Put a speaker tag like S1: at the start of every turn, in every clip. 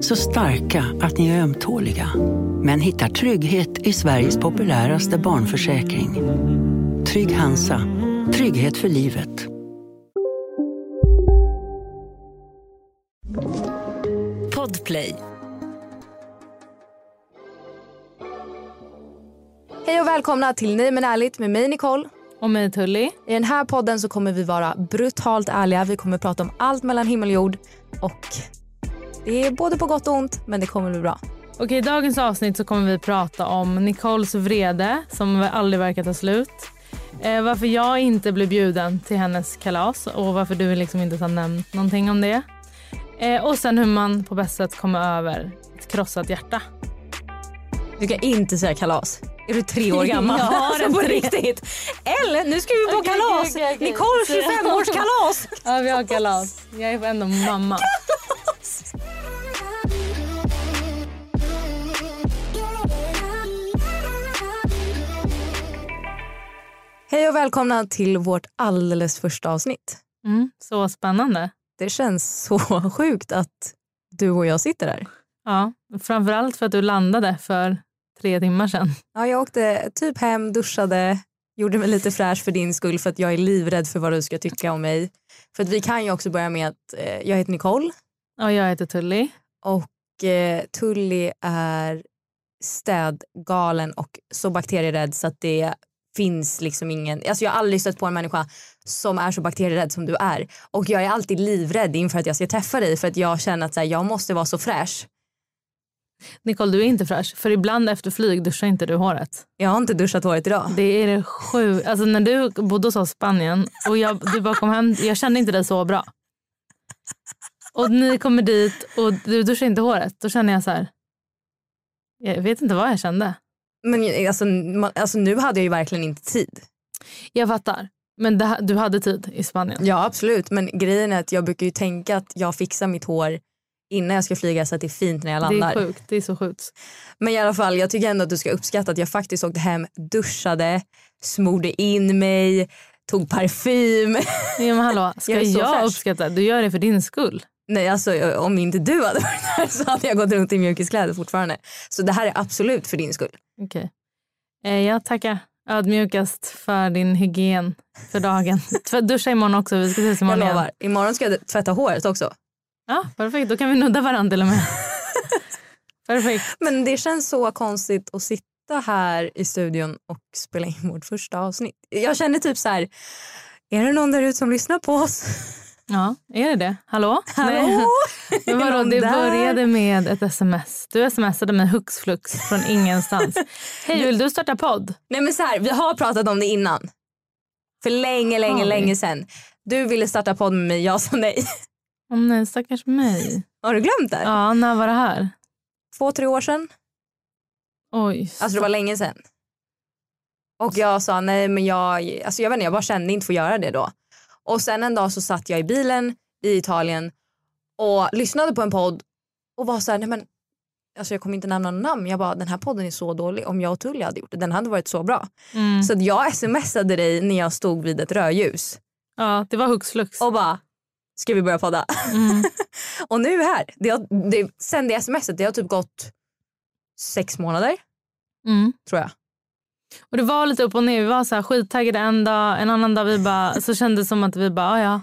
S1: Så starka att ni är ömtåliga. Men hittar trygghet i Sveriges populäraste barnförsäkring. Trygg Hansa. Trygghet för livet.
S2: Podplay.
S3: Hej och välkomna till Nej men ärligt med mig Nicole.
S4: Och mig Tully.
S3: I den här podden så kommer vi vara brutalt ärliga. Vi kommer prata om allt mellan himmel och jord. Och det är både på gott och ont men det kommer bli bra.
S4: Okej, i dagens avsnitt så kommer vi prata om Nicoles vrede som aldrig verkar ta slut. Eh, varför jag inte blev bjuden till hennes kalas och varför du liksom inte har nämnt någonting om det. Eh, och sen hur man på bästa sätt kommer över ett krossat hjärta.
S3: Du kan inte säga kalas. Är du tre år gammal?
S4: Ja,
S3: alltså på riktigt. Eller nu ska vi på
S4: Okej,
S3: kalas.
S4: okej, okej, okej.
S3: Nicoles 25-årskalas.
S4: Ja, vi har kalas. Jag är ändå mamma.
S3: Hej och välkomna till vårt alldeles första avsnitt.
S4: Mm, så spännande.
S3: Det känns så sjukt att du och jag sitter här.
S4: Ja, framförallt för att du landade för tre timmar sedan.
S3: Ja, jag åkte typ hem, duschade, gjorde mig lite fräsch för din skull för att jag är livrädd för vad du ska tycka om mig. För att vi kan ju också börja med att eh, jag heter Nicole
S4: Och jag heter Tully.
S3: och eh, Tully är städgalen och så bakterierädd så att det finns liksom ingen, alltså jag har aldrig stött på en människa som är så bakterierädd som du är och jag är alltid livrädd inför att jag ska träffa dig för att jag känner att så här, jag måste vara så fräsch.
S4: Nicole, du är inte fräsch. För ibland efter flyg duschar inte du håret.
S3: Jag har inte duschat håret idag.
S4: Det är det sju. Alltså när du bodde hos oss i Spanien och jag, du bara kom hem, jag kände inte dig så bra. Och ni kommer dit och du duschar inte håret. Då känner jag så här. Jag vet inte vad jag kände.
S3: Men alltså, man, alltså nu hade jag ju verkligen inte tid.
S4: Jag fattar. Men det, du hade tid i Spanien.
S3: Ja absolut men grejen är att jag brukar ju tänka att jag fixar mitt hår innan jag ska flyga så att det är fint när jag
S4: det
S3: landar.
S4: är sjukt. Det är så sjukt.
S3: Men i alla fall jag tycker ändå att du ska uppskatta att jag faktiskt åkte hem, duschade, smorde in mig, tog parfym.
S4: Ja, men hallå, ska
S3: Jag
S4: jag,
S3: är så fräsch.
S4: uppskatta? Du gör det för din skull.
S3: Nej alltså om inte du hade varit här så hade jag gått runt i mjukiskläder fortfarande. Så det här är absolut för din skull.
S4: Okej. Eh, jag tackar ödmjukast för din hygien för dagen. Tv- Duscha imorgon också. Vi ska ses
S3: Jag
S4: imorgon igen.
S3: lovar. Imorgon ska jag tvätta håret också.
S4: Ja, perfekt. Då kan vi nudda varandra till och med. perfekt.
S3: Men det känns så konstigt att sitta här i studion och spela in vårt första avsnitt. Jag känner typ så här, är det någon där ute som lyssnar på oss?
S4: Ja, är det det? Hallå?
S3: Hallå?
S4: Men vadå,
S3: någon
S4: det
S3: där?
S4: började med ett sms. Du smsade mig hux flux från ingenstans. Hej, vill du starta podd?
S3: Nej men så här, vi har pratat om det innan. För länge, länge,
S4: Har vi?
S3: länge sedan. Du ville starta podd med mig, jag sa nej.
S4: Åh nej, stackars mig.
S3: Har du glömt det?
S4: Ja, när var det här?
S3: Två, tre år sedan.
S4: Oj.
S3: Alltså det var länge sedan. Och jag sa nej men jag, alltså jag vet inte, jag bara kände inte för att göra det då. Och sen en dag så satt jag i bilen i Italien och lyssnade på en podd och var så här, nej men alltså jag kommer inte nämna någon namn. Jag bara den här podden är så dålig om jag och Tully hade gjort det. Den hade varit så bra.
S4: Mm.
S3: Så att jag smsade dig när jag stod vid ett rödljus
S4: Ja, det var hux flux.
S3: och bara ska vi börja podda?
S4: Mm.
S3: Och nu är vi här. Det har, det, sen det smset det har typ gått sex månader
S4: Mm.
S3: tror jag.
S4: Och det var lite upp och ner. Vi var så här skittaggade en dag, en annan dag vi bara, så kändes det som att vi bara, "Ah, ja,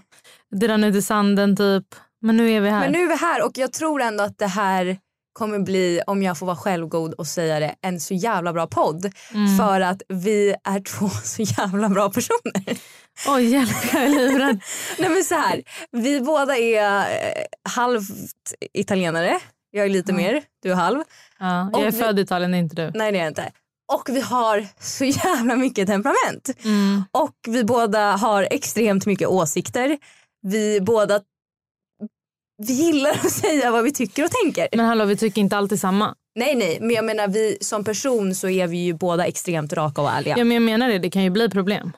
S4: det rann ut i sanden typ. Men nu är vi här.
S3: Men nu är vi här och jag tror ändå att det här kommer bli, om jag får vara självgod och säga det, en så jävla bra podd.
S4: Mm.
S3: För att vi är två så jävla bra personer.
S4: Oj, hjälp, jag är livrädd.
S3: Nej men så här, vi båda är eh, halvt italienare, Jag är lite mer, du är halv.
S4: Ja, jag är
S3: Och vi- Mm.
S4: född i Italien, det är inte du.
S3: Nej det är jag inte. Och vi har så jävla mycket temperament.
S4: Mm.
S3: Och vi båda har extremt mycket åsikter. Vi båda vi gillar att säga vad vi tycker och tänker.
S4: Men hallå, vi tycker inte alltid samma.
S3: Nej nej men jag menar vi som person så är vi ju båda extremt raka och ärliga.
S4: Ja, men jag menar det, det kan ju bli problem.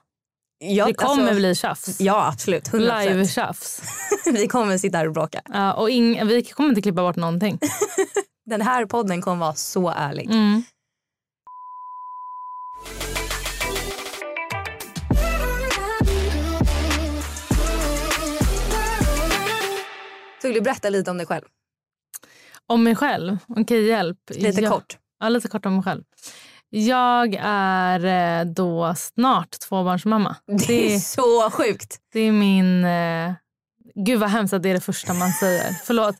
S3: Jag-
S4: Det kommer
S3: alltså,
S4: bli tjafs.
S3: Ja absolut, 100%.
S4: Live-tjafs.
S3: Vi kommer sitta här och bråka.
S4: Ja, och ing- vi kommer inte klippa bort någonting.
S3: Den här podden kommer vara så ärlig.
S4: Mm.
S3: Så vill du berätta lite om dig själv?
S4: Om mig själv. Okej, hjälp.
S3: Lite
S4: Ja.
S3: kort.
S4: Ja, lite kort om mig själv. Jag är eh, då snart tvåbarnsmamma.
S3: Det är
S4: Det,
S3: så sjukt.
S4: det är min... Eh, gud vad hemskt att det är det första man säger. Förlåt.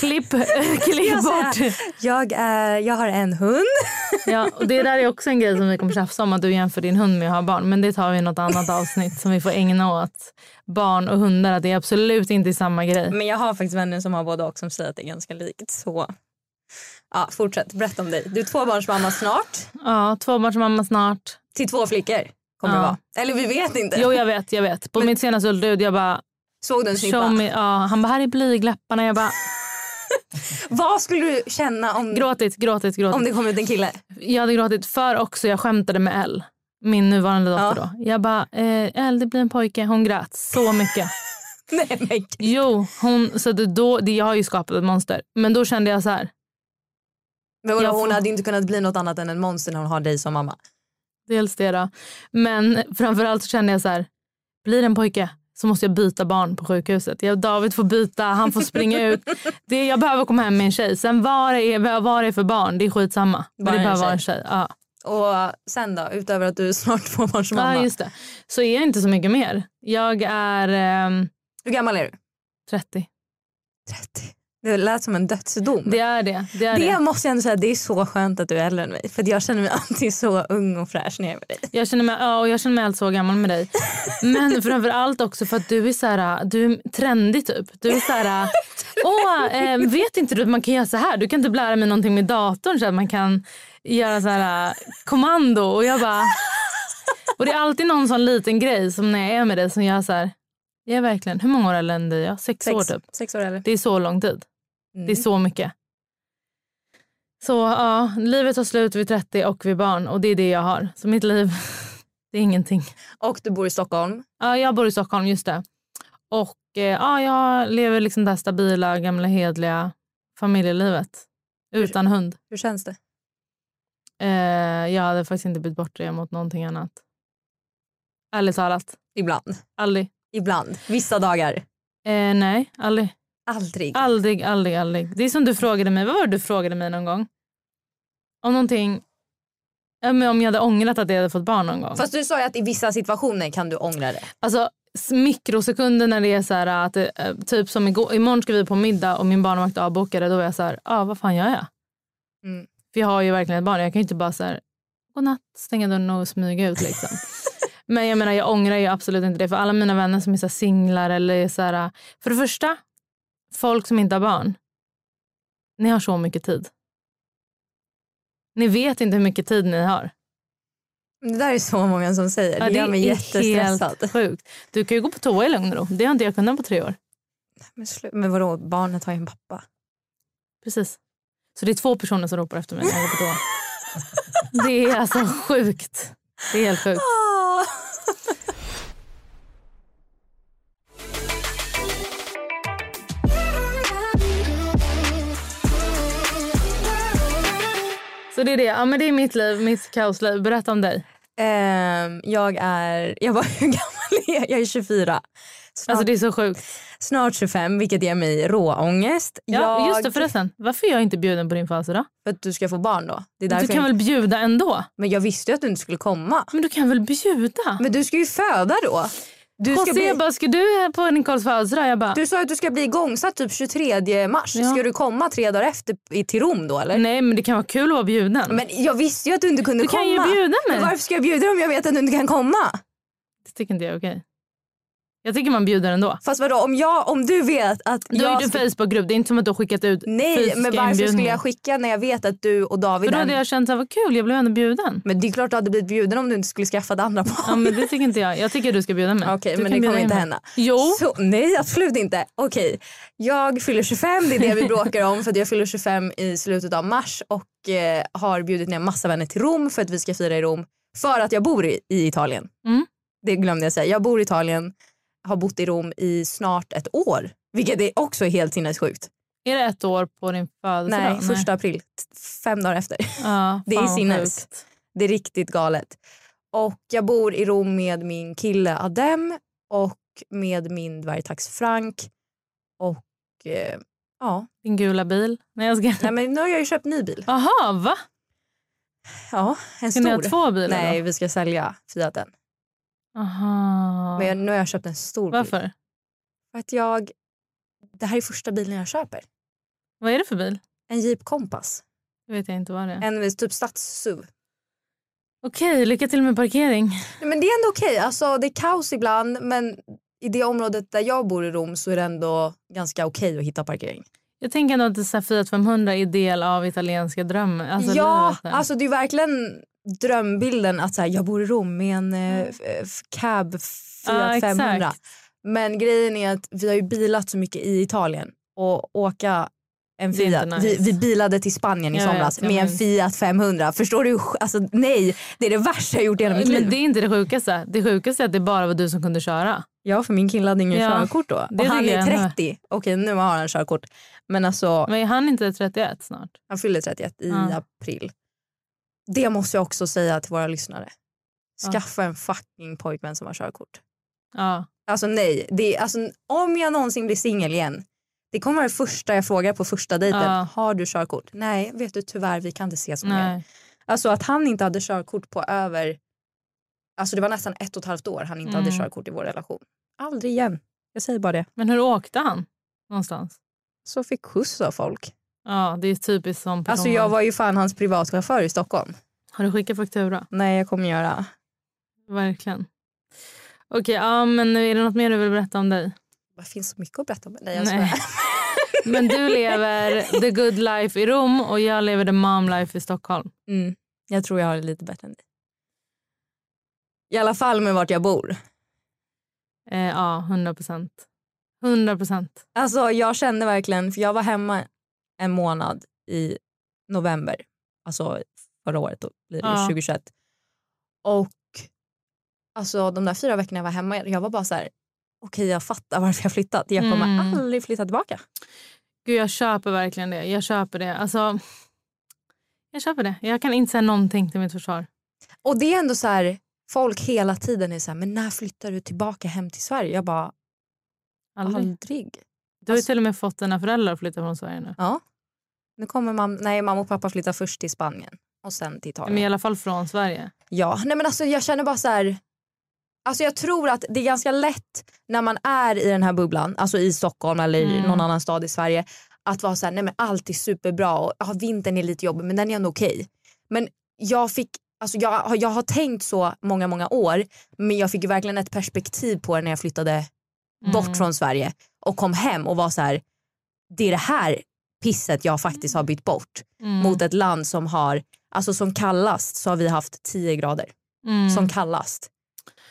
S4: Klipp, klipp
S3: Jag
S4: bort.
S3: säger- Jag, är, jag har en hund.
S4: Ja, och det där är också en grej som vi kommer tjafsa om att du jämför din hund med att ha barn. Men det tar vi i något annat avsnitt som vi får ägna åt barn och hundar. Att det är absolut inte samma grej.
S3: Men jag har faktiskt vänner som har båda och som säger att det är ganska likt. Så ja, fortsätt, berätta om dig. Du är tvåbarnsmamma snart.
S4: Ja, tvåbarnsmamma snart.
S3: Till två flickor kommer
S4: Ja.
S3: det vara. Eller vi vet inte.
S4: Jo, jag vet. jag vet. På mitt senaste ultraljud, jag bara...
S3: Såg du en snippa?
S4: "Show me-" Ja, han bara, här är blygläpparna. Jag bara,
S3: Vad skulle du känna om,
S4: gråtit, gråtit, gråtit.
S3: om det kom ut en kille?
S4: Jag hade gråtit för också, jag skämtade med L. Min nuvarande dotter då. Jag bara, eh, L det blir en pojke. Hon grät så mycket.
S3: Nej men gud.
S4: jo, hon, så det då, det, jag har ju skapat ett monster. Men då kände jag så här,
S3: Men vadå,
S4: Jag får-
S3: hon hade ju inte kunnat bli något annat än en monster när hon har dig som mamma.
S4: dels det då. Men framförallt så kände jag så här, blir det en pojke så måste jag byta barn på sjukhuset. Jag, David får byta, han får springa ut. Det, jag behöver komma hem med en tjej. Sen vad det är, vad det är för barn, det är skitsamma. Men
S3: Bara
S4: det
S3: en
S4: behöver vara en
S3: tjej.
S4: tjej. Ja.
S3: Och sen då, utöver att du är snart tvåbarnsmamma.
S4: ja, just det. Så är jag inte så mycket mer. Jag är ehm,
S3: Hur gammal är du?
S4: 30.
S3: 30. Det lät som en dödsdom.
S4: Det är det. Det är
S3: Det
S4: det.
S3: måste jag ändå säga, det är så skönt att du är äldre än mig. För att jag känner mig alltid så ung och fräsch när jag är med dig.
S4: Jag känner mig, ja, och jag känner mig allt så gammal med dig. Men framför allt också för att du är så här, du är trendig typ. Du är så här, åh, eh, vet inte du att man kan göra så här? Du kan typ lära mig någonting med datorn så att man kan göra så här eh, kommando. Och jag bara... Och det är alltid någon sån liten grej som när jag är med dig som jag så här, jag är verkligen, hur många år äldre än dig? är jag? Sex, år typ.
S3: Sex år eller?
S4: Det är så lång tid.
S3: Mm.
S4: Det är så mycket. Så ja, livet tar slut vid 30 och vid barn och det är det jag har. Så mitt liv, det är ingenting.
S3: Och du bor i Stockholm.
S4: Ja, jag bor i Stockholm, just det. Och eh, ja, jag lever liksom det här stabila, gamla, hedliga familjelivet. Utan hund.
S3: Hur känns det?
S4: Eh, jag hade faktiskt inte bytt bort det mot någonting annat. Ärligt talat.
S3: Ibland.
S4: Aldrig.
S3: Ibland. Vissa dagar.
S4: Eh, nej, aldrig.
S3: Aldrig.
S4: Aldrig, aldrig, aldrig. Det är som du frågade mig. Vad var det du frågade mig någon gång? Om någonting... Ja, men om jag hade ångrat att jag hade fått barn någon gång.
S3: Fast du sa ju att i vissa situationer kan du ångra det.
S4: Alltså s- mikrosekunder när det är så här att det, eh, typ som igår, imorgon ska vi på middag och min barnvakt avbokade. Då var jag så här, ah, vad fan gör jag?
S3: Mm.
S4: För jag har ju verkligen ett barn. Jag kan ju inte bara så här, godnatt, stänga dörren och smyga ut liksom. Men jag menar jag ångrar ju absolut inte det. För alla mina vänner som är så här singlar eller är så här. eh, För det första, folk som inte har barn. Ni har så mycket tid. Ni vet inte hur mycket tid ni har.
S3: Det där är så många som säger.
S4: Ja,
S3: det gör mig
S4: är
S3: jättestressad.
S4: helt sjukt. Du kan ju gå på toa i lugn och ro. Det har inte jag kunnat på tre år.
S3: Men, slu- men vadå, barnet har ju en pappa.
S4: Precis. Så det är två personer som ropar efter mig när jag går på toa. Det är alltså sjukt. Det är helt sjukt.
S3: Ah.
S4: Så det är det. Ja, men det är mitt liv, mitt kaosliv. Berätta om dig.
S3: Ehm, jag är... Jag var hur gammal är jag? Jag är 24. Snart,
S4: Alltså det är så sjukt.
S3: snart 25 vilket ger mig råångest.
S4: Ja,
S3: jag,
S4: Just det förresten. Varför är jag inte bjuden på din födelsedag?
S3: För att du ska få barn då. Det är
S4: Du
S3: därför
S4: kan
S3: jag,
S4: väl bjuda ändå?
S3: Men jag visste ju att du inte skulle komma.
S4: Men du kan väl bjuda?
S3: Men du ska ju föda då. Du, ska
S4: Jose
S3: bli,
S4: bara, ska du på Nicoles födelsedag? Jag bara,
S3: du sa att du ska bli igångsatt typ 23 mars.
S4: Ja.
S3: Ska du komma tre dagar efter i- till Rom då eller?
S4: nej men det kan vara kul att vara bjuden.
S3: Men jag visste ju att du inte kunde
S4: du
S3: komma.
S4: kan ju bjuda
S3: Men
S4: mig.
S3: varför ska jag bjuda dig om jag vet att du inte kan komma?
S4: Det tycker inte jag är okej. Jag tycker man bjuder ändå.
S3: Fast vadå, om, jag, om du vet att
S4: Du har
S3: jag...
S4: gjort en
S3: ska-
S4: Facebookgrupp, det är inte som att du har skickat ut
S3: Nej,
S4: fysiska
S3: men varför skulle
S4: inbjudningar.
S3: jag skicka när jag vet att du och
S4: För
S3: David...
S4: då
S3: är-
S4: hade jag känt att vad kul, jag blev ändå bjuden.
S3: Men det är klart du hade blivit bjuden om du inte skulle skaffa det andra barnet.
S4: Ja, men det tycker inte jag. Jag tycker du ska bjuda mig.
S3: Okej,
S4: Du
S3: men det
S4: kan bjuda
S3: kommer
S4: in
S3: inte
S4: mig.
S3: hända.
S4: Jo,
S3: Så, nej, absolut inte. Okej, jag fyller 25. Det är det vi bråkar om för att jag fyller 25 i slutet av mars och eh, har bjudit ner massa vänner till Rom för att vi ska fira i Rom för att jag bor i, i Italien.
S4: Mm.
S3: Det glömde jag säga. Jag bor i Italien, har bott i Rom i snart ett år. Vilket är också helt sinnessjukt.
S4: är det ett år på din födelsedag?
S3: Nej, första april. t- Fem dagar efter.
S4: Ja,
S3: Det är
S4: fan vad
S3: sinnes.
S4: sjukt.
S3: Det är riktigt galet. Och jag bor i Rom med min kille Adem och med min dvärgtax Frank. Och eh, ja,
S4: Din gula bil. Nej, jag ska...
S3: Nej, men nu har jag ju köpt ny bil.
S4: Aha, va?
S3: Ja, en
S4: Ska ni ha
S3: stor.
S4: två bilar
S3: Nej, vi ska sälja Fiaten.
S4: då? Aha.
S3: Men jag, nu har jag köpt en stor bil.
S4: Varför?
S3: För att jag, det här är första bilen jag köper.
S4: Vad är det för bil?
S3: En Jeep Compass.
S4: Det vet jag inte vad det är.
S3: En typ stadssuv.
S4: Okej, lycka till med parkering.
S3: Nej, Men det är ändå okej. Alltså, det är kaos ibland men i det området där jag bor i Rom så är det ändå ganska okej att hitta parkering.
S4: Jag tänker ändå att det är så här Fiat 500 är del av italienska drömmen. Alltså,
S3: ja,
S4: livet där.
S3: alltså det är verkligen drömbilden att så här, jag bor i Rom med en eh, f- f- cab
S4: Ja,
S3: Fiat
S4: exakt.
S3: 500. Men grejen är att vi har ju bilat så mycket i Italien och åka en
S4: Det är
S3: Fiat.
S4: inte
S3: vi,
S4: nice.
S3: vi bilade till Spanien i
S4: Jag
S3: somras
S4: vet, jag
S3: med en
S4: minns.
S3: Fiat 500. Förstår du? hur sj- Alltså, nej, det är det värsta jag gjort i hela mitt
S4: Men
S3: liv.
S4: det är inte det sjukaste. Det sjukaste är att det bara var du som kunde köra.
S3: Ja, för min kille hade ingen
S4: Ja,
S3: körkort då.
S4: det
S3: Och han
S4: tycker
S3: är
S4: jag ändå.
S3: 30. Okej, nu har han körkort. Men alltså,
S4: Men är han inte 31 snart?
S3: Han fyller 31 i
S4: Ja.
S3: april. Det måste jag också säga till våra lyssnare.
S4: Ja.
S3: Skaffa en fucking pojkvän som har körkort.
S4: Ja.
S3: Alltså nej, det är, alltså, om jag någonsin blir singel igen. Det kommer vara det första jag frågar på första dejten.
S4: Ja.
S3: Har du körkort? Nej, vet du tyvärr vi kan inte ses mer.
S4: Nej.
S3: Alltså att han inte hade körkort på över, alltså det var nästan ett och ett halvt år han inte hade
S4: Mm.
S3: körkort i vår relation. Aldrig igen. Jag säger bara det.
S4: Men hur åkte han någonstans?
S3: Så fick skjuts av folk.
S4: Ja, det är typiskt som person.
S3: Alltså jag var ju fan hans privatchaufför i Stockholm.
S4: Har du skickat faktura?
S3: Nej, jag kommer göra.
S4: Verkligen. Okej, ja, men är det något mer du vill berätta om dig?
S3: Det finns så mycket att berätta om. Nej, jag
S4: Nej.
S3: skojar.
S4: Men du lever the good life i Rom och jag lever the mom life i Stockholm.
S3: Mm. Jag tror jag har det lite bättre än dig. I alla fall med vart jag bor.
S4: Eh, ja, 100 procent. 100 procent.
S3: Alltså jag kände verkligen, för jag var hemma en månad i november, alltså förra året då blir det
S4: Ja.
S3: 2021. Och alltså de där fyra veckorna jag var hemma, jag var bara så här, okej jag fattar varför jag flyttat. Jag kommer
S4: Mm.
S3: aldrig flytta tillbaka.
S4: Gud, jag köper verkligen det. Jag köper det. Alltså, jag köper det. Jag kan inte säga någonting till mitt försvar.
S3: Och det är ändå så här, folk hela tiden är så här, men när flyttar du tillbaka hem till Sverige? Jag bara,
S4: Aldrig.
S3: aldrig.
S4: Du har ju
S3: Alltså-
S4: till och med fått dina föräldrar att flytta från Sverige nu.
S3: Ja. Nu kommer mam nej, mamma och pappa flyttar först till Spanien och sen till Italien.
S4: Men I alla fall från Sverige.
S3: Ja, nej men alltså jag känner bara så här. Alltså jag tror att det är ganska lätt när man är i den här bubblan, alltså i Stockholm eller i
S4: Mm.
S3: någon annan stad i Sverige, att vara så här, nej men allt är superbra och ja, vintern är lite jobbig men den är ändå okej. Men jag fick, alltså jag, har- jag har tänkt så många, många år men jag fick ju verkligen ett perspektiv på det när jag flyttade
S4: Mm.
S3: bort från Sverige och kom hem och var så här, det är det här pisset jag faktiskt har bytt bort
S4: Mm.
S3: mot ett land som har, alltså som kallast så har vi haft 10 grader
S4: Mm.
S3: som kallast.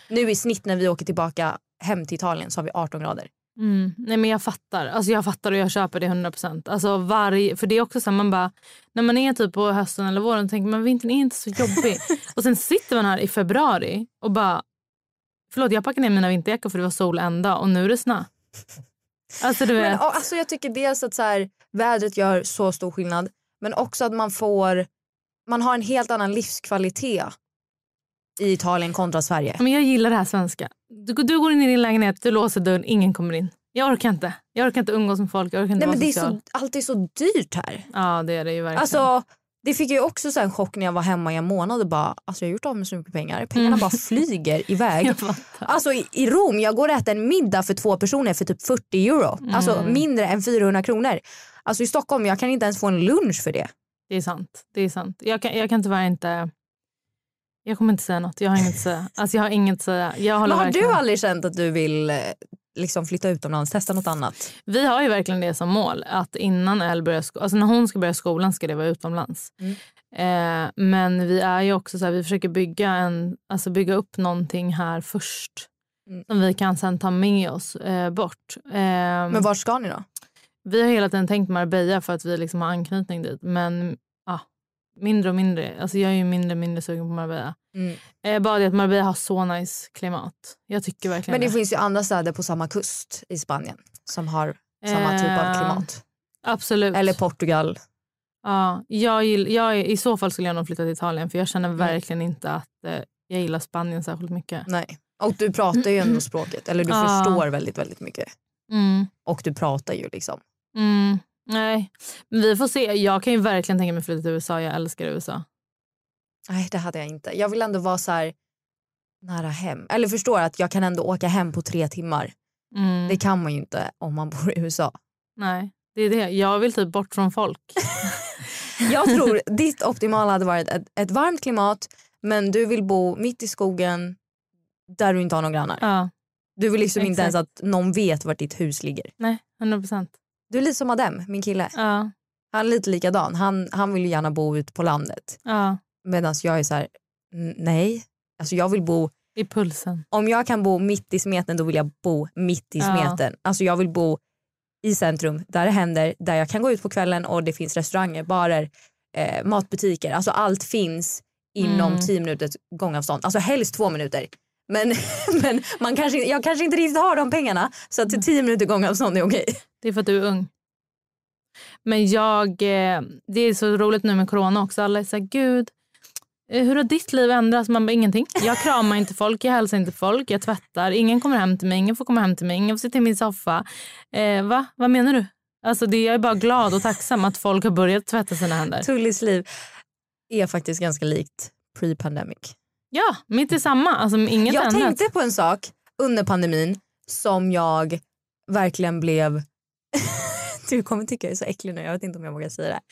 S3: Nu i snitt när vi åker tillbaka hem till Italien så har vi 18 grader.
S4: Mm. Nej men jag fattar. Alltså jag fattar och jag köper det 100%. Alltså varje, för det är också så här, man bara, när man är typ på hösten eller våren tänker man vintern är inte så jobbig. och sen sitter man här i februari och bara, förlåt jag packade ner mina vinterjackor för det var sol en dag och nu är det snö. Alltså du
S3: Men,
S4: vet,
S3: och, alltså, jag tycker dels att så här, vädret gör så stor skillnad men också att man får, man har en helt annan livskvalitet i Italien kontra Sverige.
S4: men jag gillar det här svenska. Du, du går in i din lägenhet, du låser dörren, ingen kommer in. Jag orkar inte. Jag orkar inte umgås med folk, jag orkar inte
S3: Nej,
S4: vara
S3: men det är
S4: social.
S3: så, allt är så dyrt här.
S4: Ja det är det ju verkligen.
S3: Alltså, det fick jag ju också så här en chock när jag var hemma i en månad och bara, alltså jag har gjort av med så mycket pengar. Pengarna bara flyger iväg.
S4: jag fattar.
S3: Alltså i, i Rom, jag går och äter en middag för två personer för typ 40 euro. Alltså
S4: Mm.
S3: mindre än 400 kronor. Alltså i Stockholm, jag kan inte ens få en lunch för det.
S4: Det är sant. Det är sant. Jag, kan, jag kan tyvärr inte... Jag kommer inte säga något. Jag har inget att säga. Alltså, jag har inget att säga. Jag håller
S3: Men har
S4: verkligen-
S3: du aldrig känt att du vill eh, liksom flytta utomlands, testa något annat?
S4: Vi har ju verkligen det som mål att innan Elle börjar sko- alltså när hon ska börja skolan ska det vara utomlands.
S3: Mm.
S4: Eh, men vi är ju också så här, vi försöker bygga, en, alltså bygga upp någonting här först
S3: Mm.
S4: som vi kan sen ta med oss eh, bort. Eh,
S3: Men vart ska ni då?
S4: Vi har hela tiden tänkt Marbella för att vi liksom har anknytning dit men ah, mindre och mindre. Alltså jag är ju mindre och mindre sugen på Marbella.
S3: Mm.
S4: Eh, bara det att Marbella har så nice klimat. Jag tycker verkligen
S3: Men det finns ju andra städer på samma kust i Spanien som har samma typ av
S4: Eh,
S3: klimat.
S4: Absolut.
S3: Eller Portugal.
S4: Ja, jag gill, jag, I så fall skulle jag nog flytta till Italien för jag känner
S3: Mm.
S4: verkligen inte att eh, jag gillar Spanien särskilt mycket.
S3: Nej. Och du pratar ju ändå språket, eller du
S4: Ja.
S3: förstår väldigt, väldigt mycket.
S4: Mm,
S3: Och du pratar ju liksom.
S4: mm, nej, men vi får se. Jag kan ju verkligen tänka mig att flytta till USA. Jag älskar USA.
S3: Nej, det hade jag inte. Jag vill ändå vara så här nära hem. Eller förstår att jag kan ändå åka hem på tre timmar.
S4: Mm,
S3: Det kan man ju inte om man bor i USA.
S4: nej, det är det. Jag vill typ bort från folk.
S3: Jag tror ditt optimala hade varit ett, ett varmt klimat men du vill bo mitt i skogen där du inte har några grannar.
S4: ja,
S3: Du vill liksom inte ens
S4: Exakt.
S3: att någon vet vart ditt hus ligger.
S4: nej, 100 procent.
S3: Du är lite som Adem, min kille.
S4: Ja,
S3: Han är lite likadan. Han, han vill ju gärna bo ute på landet.
S4: ja,
S3: Medan jag är så här, "N- nej. Alltså jag vill bo,
S4: i pulsen.
S3: om jag kan bo mitt i smeten då vill jag bo mitt i
S4: Ja.
S3: smeten. Alltså jag vill bo i centrum där det händer, där jag kan gå ut på kvällen och det finns restauranger, barer, eh, matbutiker. Alltså allt finns inom
S4: Mm.
S3: tio minuters gångavstånd. Alltså helst två minuter. Men, men man kanske, jag kanske inte riktigt har de pengarna så
S4: Mm.
S3: att tio minuter gångavstånd är okej.
S4: Det är för att du är ung. Men jag, eh, det är så roligt nu med corona också. Alla är så här, gud, eh, hur har ditt liv ändrats? Man bara, ingenting. Jag kramar inte folk, jag hälsar inte folk, jag tvättar. Ingen kommer hem till mig, ingen får komma hem till mig, ingen får sitta i min soffa. Eh, va? Vad menar du? Alltså det, jag är bara glad och tacksam att folk har börjat tvätta sina händer.
S3: Tullis liv är faktiskt ganska likt pre-pandemic.
S4: Ja, mitt är samma. Alltså inget
S3: Jag
S4: ändrat.
S3: tänkte på en sak under pandemin som jag verkligen blev... du kommer tycka jag är så äcklig nu, jag vet inte om jag vågar säga det. här.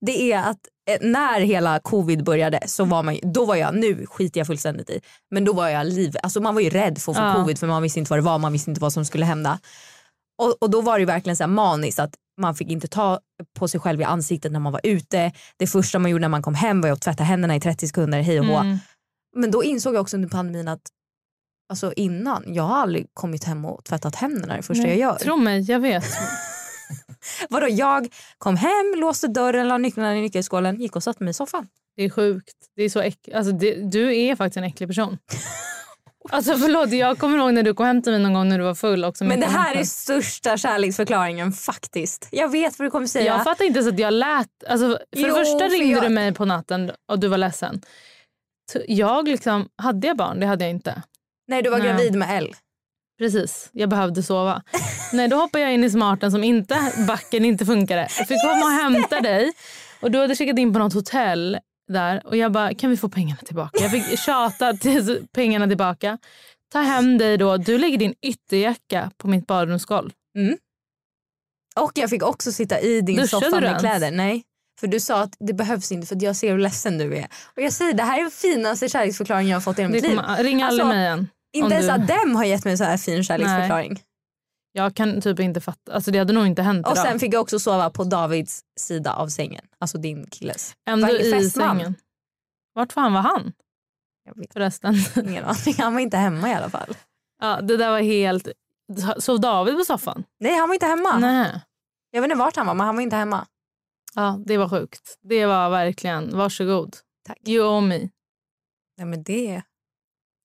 S3: Det är att eh, när hela covid började så var man då var jag, nu skiter jag fullständigt i, men då var jag liv, alltså man var ju rädd för att få
S4: Ja.
S3: covid för man visste inte vad det var, man visste inte vad som skulle hända. Och, och då var det ju verkligen så här maniskt att man fick inte ta på sig själv i ansiktet när man var ute. Det första man gjorde när man kom hem var ju att tvätta händerna i 30 sekunder, hej och hå.
S4: Mm.
S3: Men då insåg jag också under pandemin att alltså innan, jag har aldrig kommit hem och tvättat händerna det första jag gör.
S4: Tro mig, jag vet.
S3: Vadå, jag kom hem, låste dörren, la nycklarna i nyckelskålen, gick och satte mig i soffan.
S4: Det är sjukt. Det är så äck... alltså, det... Du är faktiskt en äcklig person. Alltså förlåt, jag kommer ihåg när du kom hem till mig någon gång när du var full också.
S3: Men det
S4: kom
S3: här
S4: hem
S3: är
S4: till-
S3: största kärleksförklaringen faktiskt. Jag vet vad du kommer säga.
S4: Jag fattar inte ens att jag lät... Alltså, för
S3: Jo,
S4: det första
S3: för
S4: ringde
S3: jag-
S4: du mig på natten och du var ledsen. Så Jag liksom... Hade jag barn? Det hade jag inte.
S3: Nej, du var
S4: Nej.
S3: gravid med L.
S4: Precis, jag behövde sova. Nej, då hoppade jag in i smarten som inte... Backen inte funkade. Jag fick komma och hämta dig. Och du hade checkat in på något hotell där. Och jag bara, kan vi få pengarna tillbaka? Jag fick tjata till pengarna tillbaka. Ta hem dig då. Du lägger din ytterjacka på mitt badrumsgolv.
S3: Och jag fick också sitta i din
S4: Duschade
S3: soffa
S4: du
S3: med
S4: ens?
S3: kläder. Nej. För du sa att det behövs inte för att jag ser hur ledsen du är. Och jag säger det här är den finaste kärleksförklaringen jag har fått i hela
S4: Det
S3: mitt liv.
S4: kommer, ring aldrig
S3: Alltså,
S4: mig igen. om
S3: Inte ens
S4: du-
S3: Adem har gett mig en så här fin kärleksförklaring.
S4: Jag kan typ inte fatta. Alltså det hade nog inte hänt
S3: Och
S4: idag.
S3: sen fick jag också sova på Davids sida av sängen. Alltså din killes.
S4: Ändå
S3: Varje
S4: i
S3: fästman.
S4: sängen. Vart fan var han?
S3: Jag vet
S4: Förresten.
S3: ingen aning. Han var inte hemma i alla fall.
S4: Ja, det där var helt... Sov David på soffan?
S3: Nej han var inte hemma.
S4: Nej.
S3: Jag vet inte vart han var men han var inte hemma.
S4: Ja, det var sjukt. Det var verkligen... Varsågod.
S3: Tack.
S4: You owe me.
S3: Nej men det.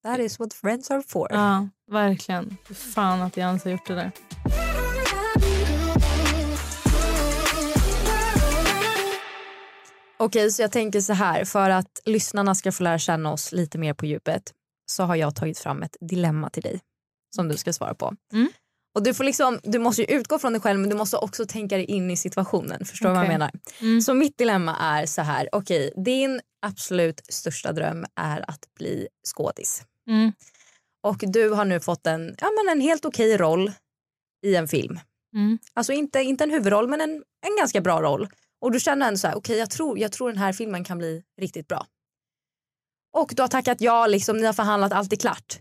S3: That is what friends are for.
S4: Ja, verkligen. Fy Fan att jag ens har gjort det där.
S3: Okej så jag tänker så här. För att lyssnarna ska få lära känna oss lite mer på djupet. Så har jag tagit fram ett dilemma till dig. Som du ska svara på.
S4: Mm.
S3: Och du, får liksom, du måste ju utgå från dig själv men du måste också tänka dig in i situationen. Förstår du vad jag
S4: Okej.
S3: menar?
S4: Mm.
S3: Så mitt dilemma är så här. Okej, din absolut största dröm är att bli skådis.
S4: Mm.
S3: Och du har nu fått en, ja, men en helt okej roll i en film.
S4: Mm.
S3: Alltså inte, inte en huvudroll men en, en ganska bra roll. Och du känner ändå så här, okej jag, tror, jag tror den här filmen kan bli riktigt bra. och du har tackat ja, liksom, ni har förhandlat, allt är klart.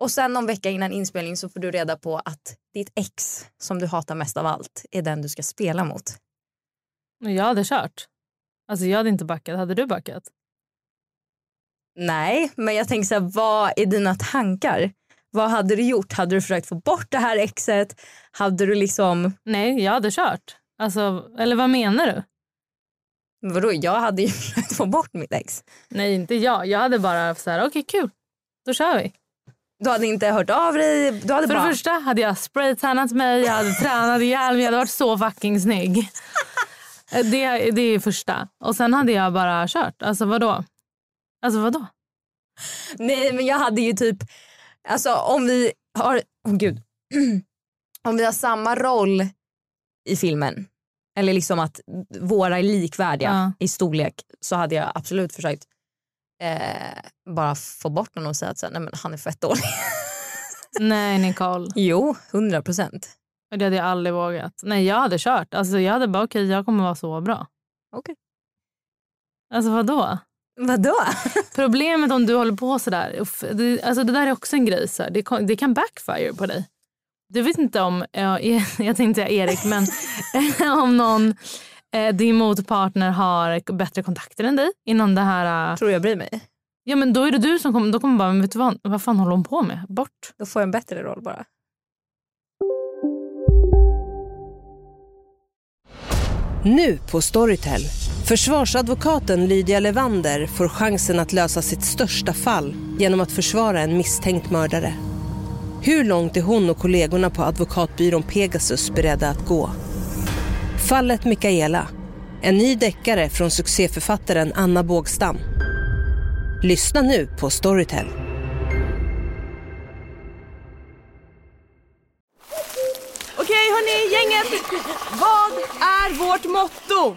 S3: Och sen någon vecka innan inspelning så får du reda på att ditt ex som du hatar mest av allt är den du ska spela mot.
S4: Men Jag hade kört. Alltså jag hade inte backat. Hade du backat?
S3: Nej, men jag tänker så här, vad är dina tankar? Vad hade du gjort? Hade du försökt få bort det här exet? Hade du liksom,
S4: Nej, jag hade kört. Alltså, eller vad menar du?
S3: vadå jag hade ju försökt få bort mitt ex.
S4: Nej, inte jag. Jag hade bara så här, okej kul, då kör vi.
S3: Du hade inte hört av dig, du hade
S4: För det
S3: bara...
S4: första hade jag spraytannat mig, jag hade tränat ihjäl mig, jag hade varit så fucking snygg. Eh, Det, det är det första. Och sen hade jag bara kört. Alltså vadå? Alltså vadå?
S3: Nej men jag hade ju typ, alltså om vi har, åh gud. om vi har samma roll i filmen, eller liksom att våra är likvärdiga
S4: Ja.
S3: i storlek så hade jag absolut försökt eh, bara få bort honom och säga att så här, nej, men han är fett dålig.
S4: Nej Nicole,
S3: jo, hundra procent.
S4: det hade jag aldrig vågat. Nej jag hade kört. Alltså jag hade bara okej jag kommer vara så bra.
S3: Okej.
S4: Alltså vadå?
S3: Vadå?
S4: Problemet om du håller på sådär, uff, det, alltså det där är också en grej. Så här. Det, kan- det kan backfire på dig. Du vet inte om, ja, E- jag tänkte säga Erik, men om någon, eh, din motpartner har bättre kontakter än dig inom det här. eh,
S3: Tror jag bryr mig?
S4: Ja men då är det du som kommer, då kommer bara, men vet du vad, vad fan håller hon på med? Bort.
S3: Då får jag en bättre roll bara.
S5: Nu på Storytel. Försvarsadvokaten Lydia Levander får chansen att lösa sitt största fall genom att försvara en misstänkt mördare. Hur långt är hon och kollegorna på advokatbyrån Pegasus beredda att gå? Fallet Mikaela. En ny deckare från succéförfattaren Anna Bågstam. Lyssna nu på Storytel.
S6: Okej hörni, gänget! Vad är vårt motto?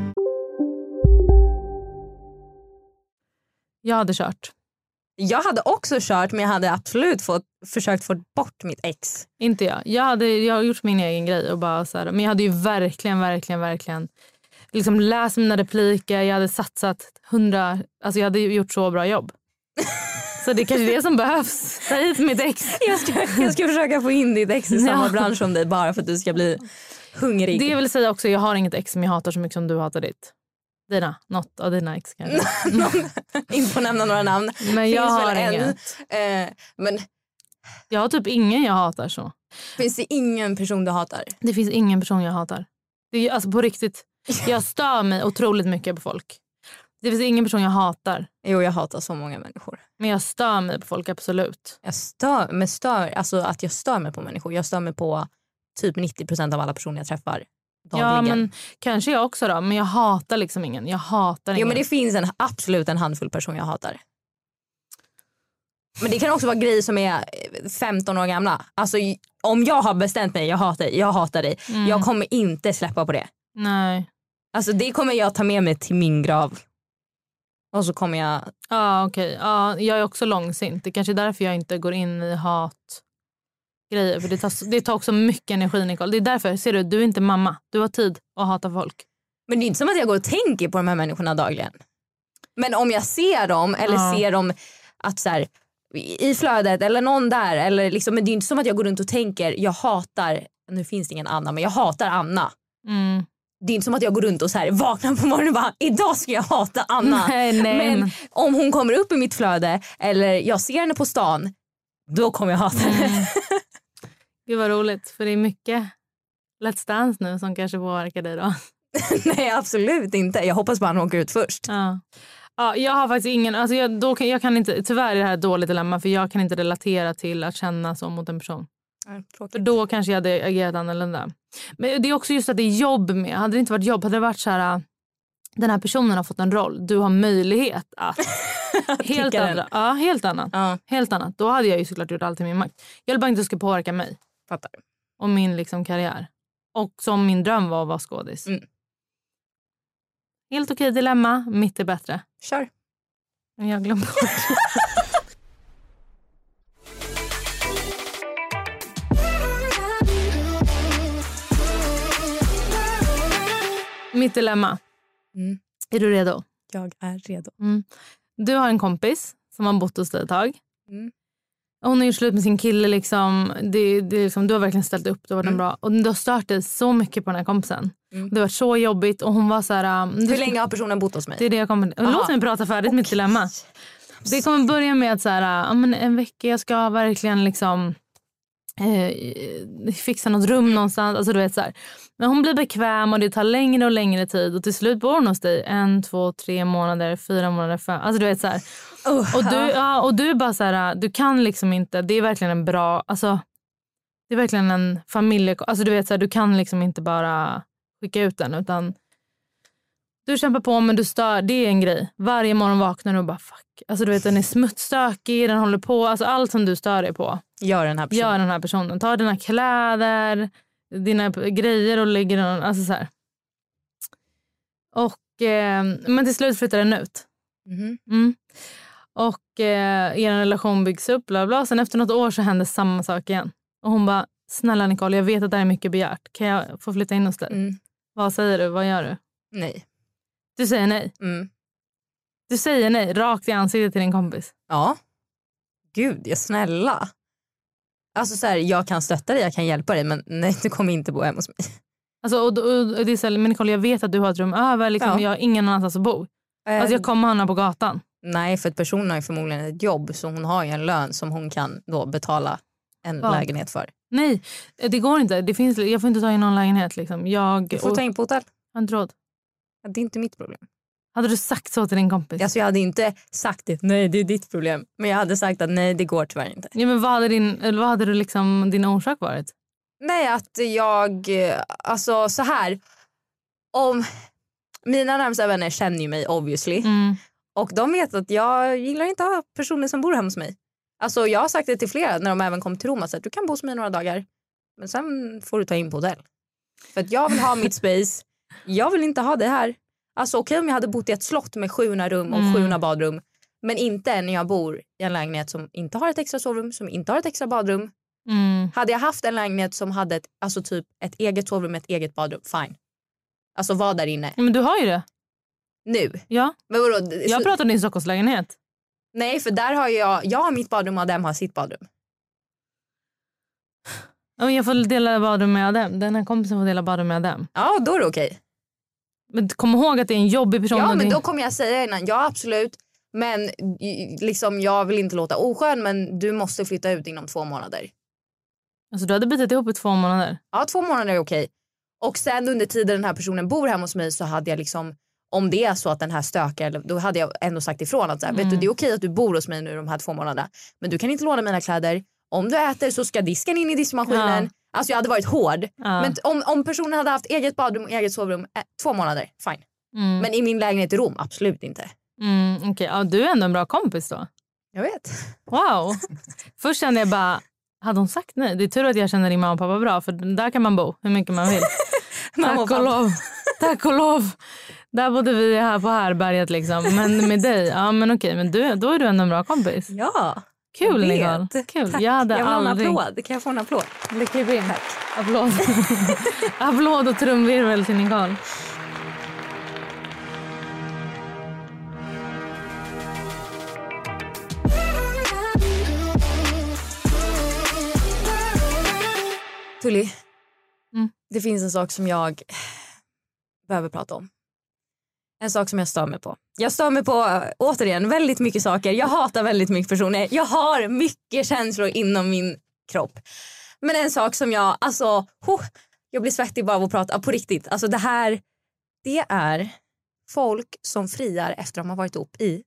S4: Jag hade kört.
S3: Jag hade också kört men jag hade absolut fått, försökt få bort mitt ex.
S4: Inte jag. Jag hade, jag har gjort min egen grej. Och bara så här, men jag hade ju verkligen, verkligen, verkligen liksom läst mina repliker. Jag hade satsat hundra... Alltså jag hade ju gjort så bra jobb. Så det är kanske är det som behövs. Ta hit mitt ex.
S3: Jag ska, jag ska försöka få in ditt ex i samma bransch som dig bara för att du ska bli hungrig.
S4: Det vill säga också, jag har inget ex som jag hatar så mycket som du hatar ditt. Dina. Något av dina ex kanske.
S3: Någon, inte får nämna några namn.
S4: Men jag
S3: Finns väl
S4: har
S3: en.
S4: inget.
S3: Eh, men
S4: Jag har typ ingen jag hatar så.
S3: finns det ingen person du hatar?
S4: Det finns ingen person jag hatar. Det är, ju- alltså på riktigt. Jag stör mig otroligt mycket på folk. Det finns ingen person jag hatar.
S3: Jo jag hatar så många människor.
S4: Men jag stör mig på folk absolut.
S3: Jag stör, men stör, alltså att jag stör mig på människor. Jag stör mig på typ 90 av alla personer jag träffar dagligen.
S4: Ja, men kanske jag också då. Men jag hatar liksom ingen. Jag hatar
S3: Jo,
S4: ingen.
S3: men det finns en, absolut en handfull personer jag hatar. Men det kan också vara grejer som är eh, 15 år gamla. Alltså, j- om jag har bestämt mig, jag hatar dig, jag hatar dig.
S4: Mm.
S3: Jag kommer inte släppa på det.
S4: Nej.
S3: Alltså det kommer jag ta med mig till min grav. Och så kommer jag...
S4: Ja, okej. Ja, jag är också långsint. Det kanske är därför jag inte går in i hat grejer. För det tar, det tar också mycket energi, Nicole. Det är därför, ser du, du är inte mamma. Du har tid att hata folk.
S3: Men det är inte som att jag går och tänker på de här människorna dagligen. Men om jag ser dem eller
S4: Ja.
S3: ser dem att så här, i i flödet eller någon där. Eller liksom, men det är inte som att jag går runt och tänker jag hatar, nu finns det ingen Anna men jag hatar Anna.
S4: Mm.
S3: Det är inte som att jag går runt och så här, vaknar på morgonen och bara idag ska jag hata Anna.
S4: Nej, nej.
S3: Men
S4: men-
S3: om hon kommer upp i mitt flöde eller jag ser henne på stan då kommer jag hata henne.
S4: Mm. Gud vad roligt, för det är mycket Let's Dance nu som kanske påverkar dig då.
S3: Nej absolut inte. Jag hoppas bara han åker ut först.
S4: Ja. Ja, jag har faktiskt ingen... Alltså jag, då kan, jag kan inte, tyvärr är det här ett dåligt dilemma för jag kan inte relatera till att känna så mot en person. För då kanske jag hade agerat annorlunda. Men det är också just att det är jobb med. Hade det äh, inte varit jobb hade det varit så här... Den här personen har fått en roll. Du har möjlighet att Helt,
S3: Tycker
S4: andra, ja, helt annat.
S3: Ja,
S4: Helt annat. Då hade jag ju såklart gjort allt i min makt. Jag ville bara inte att det skulle påverka mig
S3: fattar.
S4: och min liksom, karriär. Och som min dröm var att vara skådis.
S3: Mm.
S4: Helt okej dilemma, mitt är bättre.
S3: Kör.
S4: Men Jag glömde bort. Mitt dilemma.
S3: Mm.
S4: Är du redo?
S3: Jag är redo.
S4: Du har en kompis som har bott hos dig ett tag.
S3: Mm.
S4: Hon är ju slut med sin kille. Liksom. Det, det är liksom, du har verkligen ställt upp. Du har, varit en bra. Och du har stört dig så mycket på den här kompisen.
S3: Mm.
S4: Det har varit så jobbigt. Och hon var så här... ähm, du-
S3: Hur länge har personen bott hos mig?
S4: Det är det jag kommer... Låt mig prata färdigt mitt dilemma. Det kommer börja med att så här, ja, men en vecka jag ska verkligen liksom eh, fixa något rum någonstans. Alltså, du vet, så här. Men hon blir bekväm och det tar längre och längre tid. Och till slut bor hon hos dig en, två, tre månader, fyra månader, fem. Alltså du vet så här. och, du, ja, och du är bara så här, du kan liksom inte. Det är verkligen en bra, alltså. Det är verkligen en familje... Alltså du vet så här, du kan liksom inte bara skicka ut den utan du kämpar på men du stör. Det är en grej. Varje morgon vaknar du och bara fuck. Alltså du vet den är smutstökig, den håller på. Alltså allt som du stör dig på
S3: Gör den här personen.
S4: gör den här personen. Tar dina kläder, dina p- grejer och lägger den... Alltså så här. Och, eh, men till slut flyttar den ut.
S3: Mhm.
S4: Mm. Och eh, er relation byggs upp. Bla bla. Sen efter något år så händer samma sak igen. Och hon bara, snälla Nicole, jag vet att det här är mycket begärt. Kan jag få flytta in hos dig?
S3: Mm.
S4: Vad säger du? Vad gör du?
S3: Nej.
S4: Du säger nej.
S3: Mm.
S4: Du säger nej rakt i ansiktet till din kompis.
S3: Ja. Gud, jag snälla. Alltså så här, jag kan stötta dig, jag kan hjälpa dig men nej du kommer inte bo hemma hos mig.
S4: Alltså, och, och, och det är så här, men Nicole, jag vet att du har ett rum över. Liksom,
S3: Ja. Eh.
S4: Jag har ingen annanstans att bo. Alltså, jag kommer hamna på gatan.
S3: Nej, för att personen har ju förmodligen ett jobb så hon har ju en lön som hon kan då betala en
S4: Ja.
S3: lägenhet för.
S4: Nej, det går inte. Det finns, jag får inte ta in någon lägenhet. Liksom. Jag,
S3: Du får
S4: och-
S3: ta in på hotell.
S4: jag har inte råd.
S3: Ja, Det är inte mitt problem.
S4: Hade du sagt så till din kompis?
S3: Alltså jag hade inte sagt det, nej det är ditt problem. Men jag hade sagt att nej det går tyvärr inte.
S4: Ja, men vad hade, din, eller vad hade du liksom, din orsak varit?
S3: Nej, att jag... eh, Alltså så här. Om, mina närmsta vänner känner ju mig obviously.
S4: Mm.
S3: Och de vet att jag gillar inte att ha personer som bor hemma hos mig. Alltså jag har sagt det till flera när de även kom till Rom. att så här, Du kan bo hos mig några dagar. Men sen får du ta in på hotell. För att jag vill ha mitt space. Jag vill inte ha det här. Alltså okej om jag hade bott i ett slott med 700 rum och
S4: Mm.
S3: 700 badrum. Men inte när jag bor i en lägenhet som inte har ett extra sovrum, som inte har ett extra badrum.
S4: Mm.
S3: Hade jag haft en lägenhet som hade ett, alltså typ ett eget sovrum med ett eget badrum, fine. Alltså var där inne.
S4: Ja, Men du har ju det.
S3: Nu.
S4: Ja.
S3: Men vadå? d-
S4: Jag
S3: så-
S4: pratar om din Stockholmslägenhet.
S3: Nej, för där har jag, jag har mitt badrum och Adem har sitt badrum.
S4: Ja, men Jag får dela badrum med Adem. Den här kompisen får dela badrum med Adem.
S3: Ja, då är det okej.
S4: Men kom ihåg att det är en jobbig person.
S3: Ja,
S4: och
S3: men
S4: det-
S3: då kommer jag säga innan. Ja, absolut. Men i- liksom, jag vill inte låta oskön, men du måste flytta ut inom två månader.
S4: alltså, du hade bitit ihop i två månader.
S3: Ja, två månader är okej. Och sen under tiden den här personen bor hemma hos mig så hade jag liksom om det är så att den här stökar, eller- då hade jag ändå sagt ifrån att så här,
S4: Mm.
S3: vet du, det är okej att du bor hos mig nu de här två månaderna. Men du kan inte låna mina kläder. Om du äter så ska disken in i diskmaskinen.
S4: Ja.
S3: Alltså jag hade varit hård.
S4: Ja.
S3: Men t- om, om personen hade haft eget badrum och eget sovrum, eh, två månader, fine.
S4: Mm.
S3: Men i min lägenhet i Rom, absolut inte.
S4: Mm, okej. ja, du är ändå en bra kompis då.
S3: Jag vet.
S4: Wow. Först kände jag bara, hade hon sagt nej? Det är tur att jag känner din mamma och pappa bra för där kan man bo hur mycket man vill.
S3: Mamma och
S4: Tack och
S3: pappa.
S4: lov. Tack och lov. Där bodde vi här på härberget liksom. Men med dig, ja men okej, men du, då är du ändå en bra kompis.
S3: Ja,
S4: Kul
S3: jag vet.
S4: Nicole. Kul.
S3: Tack.
S4: Jag hade
S3: vill
S4: aldrig...
S3: ha en applåd. Kan jag få en applåd?
S4: Lycka till. Applåd. Applåd och trumvirvel till Nicole.
S3: Tully,
S4: Mm.
S3: det finns en sak som jag behöver prata om. En sak som jag stör mig på. Jag stör mig på, äh, återigen, väldigt mycket saker. Jag hatar väldigt mycket personer. Jag har mycket känslor inom min kropp. Men en sak som jag, alltså, ho, jag blir svettig bara av att prata. På riktigt, alltså det här, det är folk som friar efter att de har varit ihop i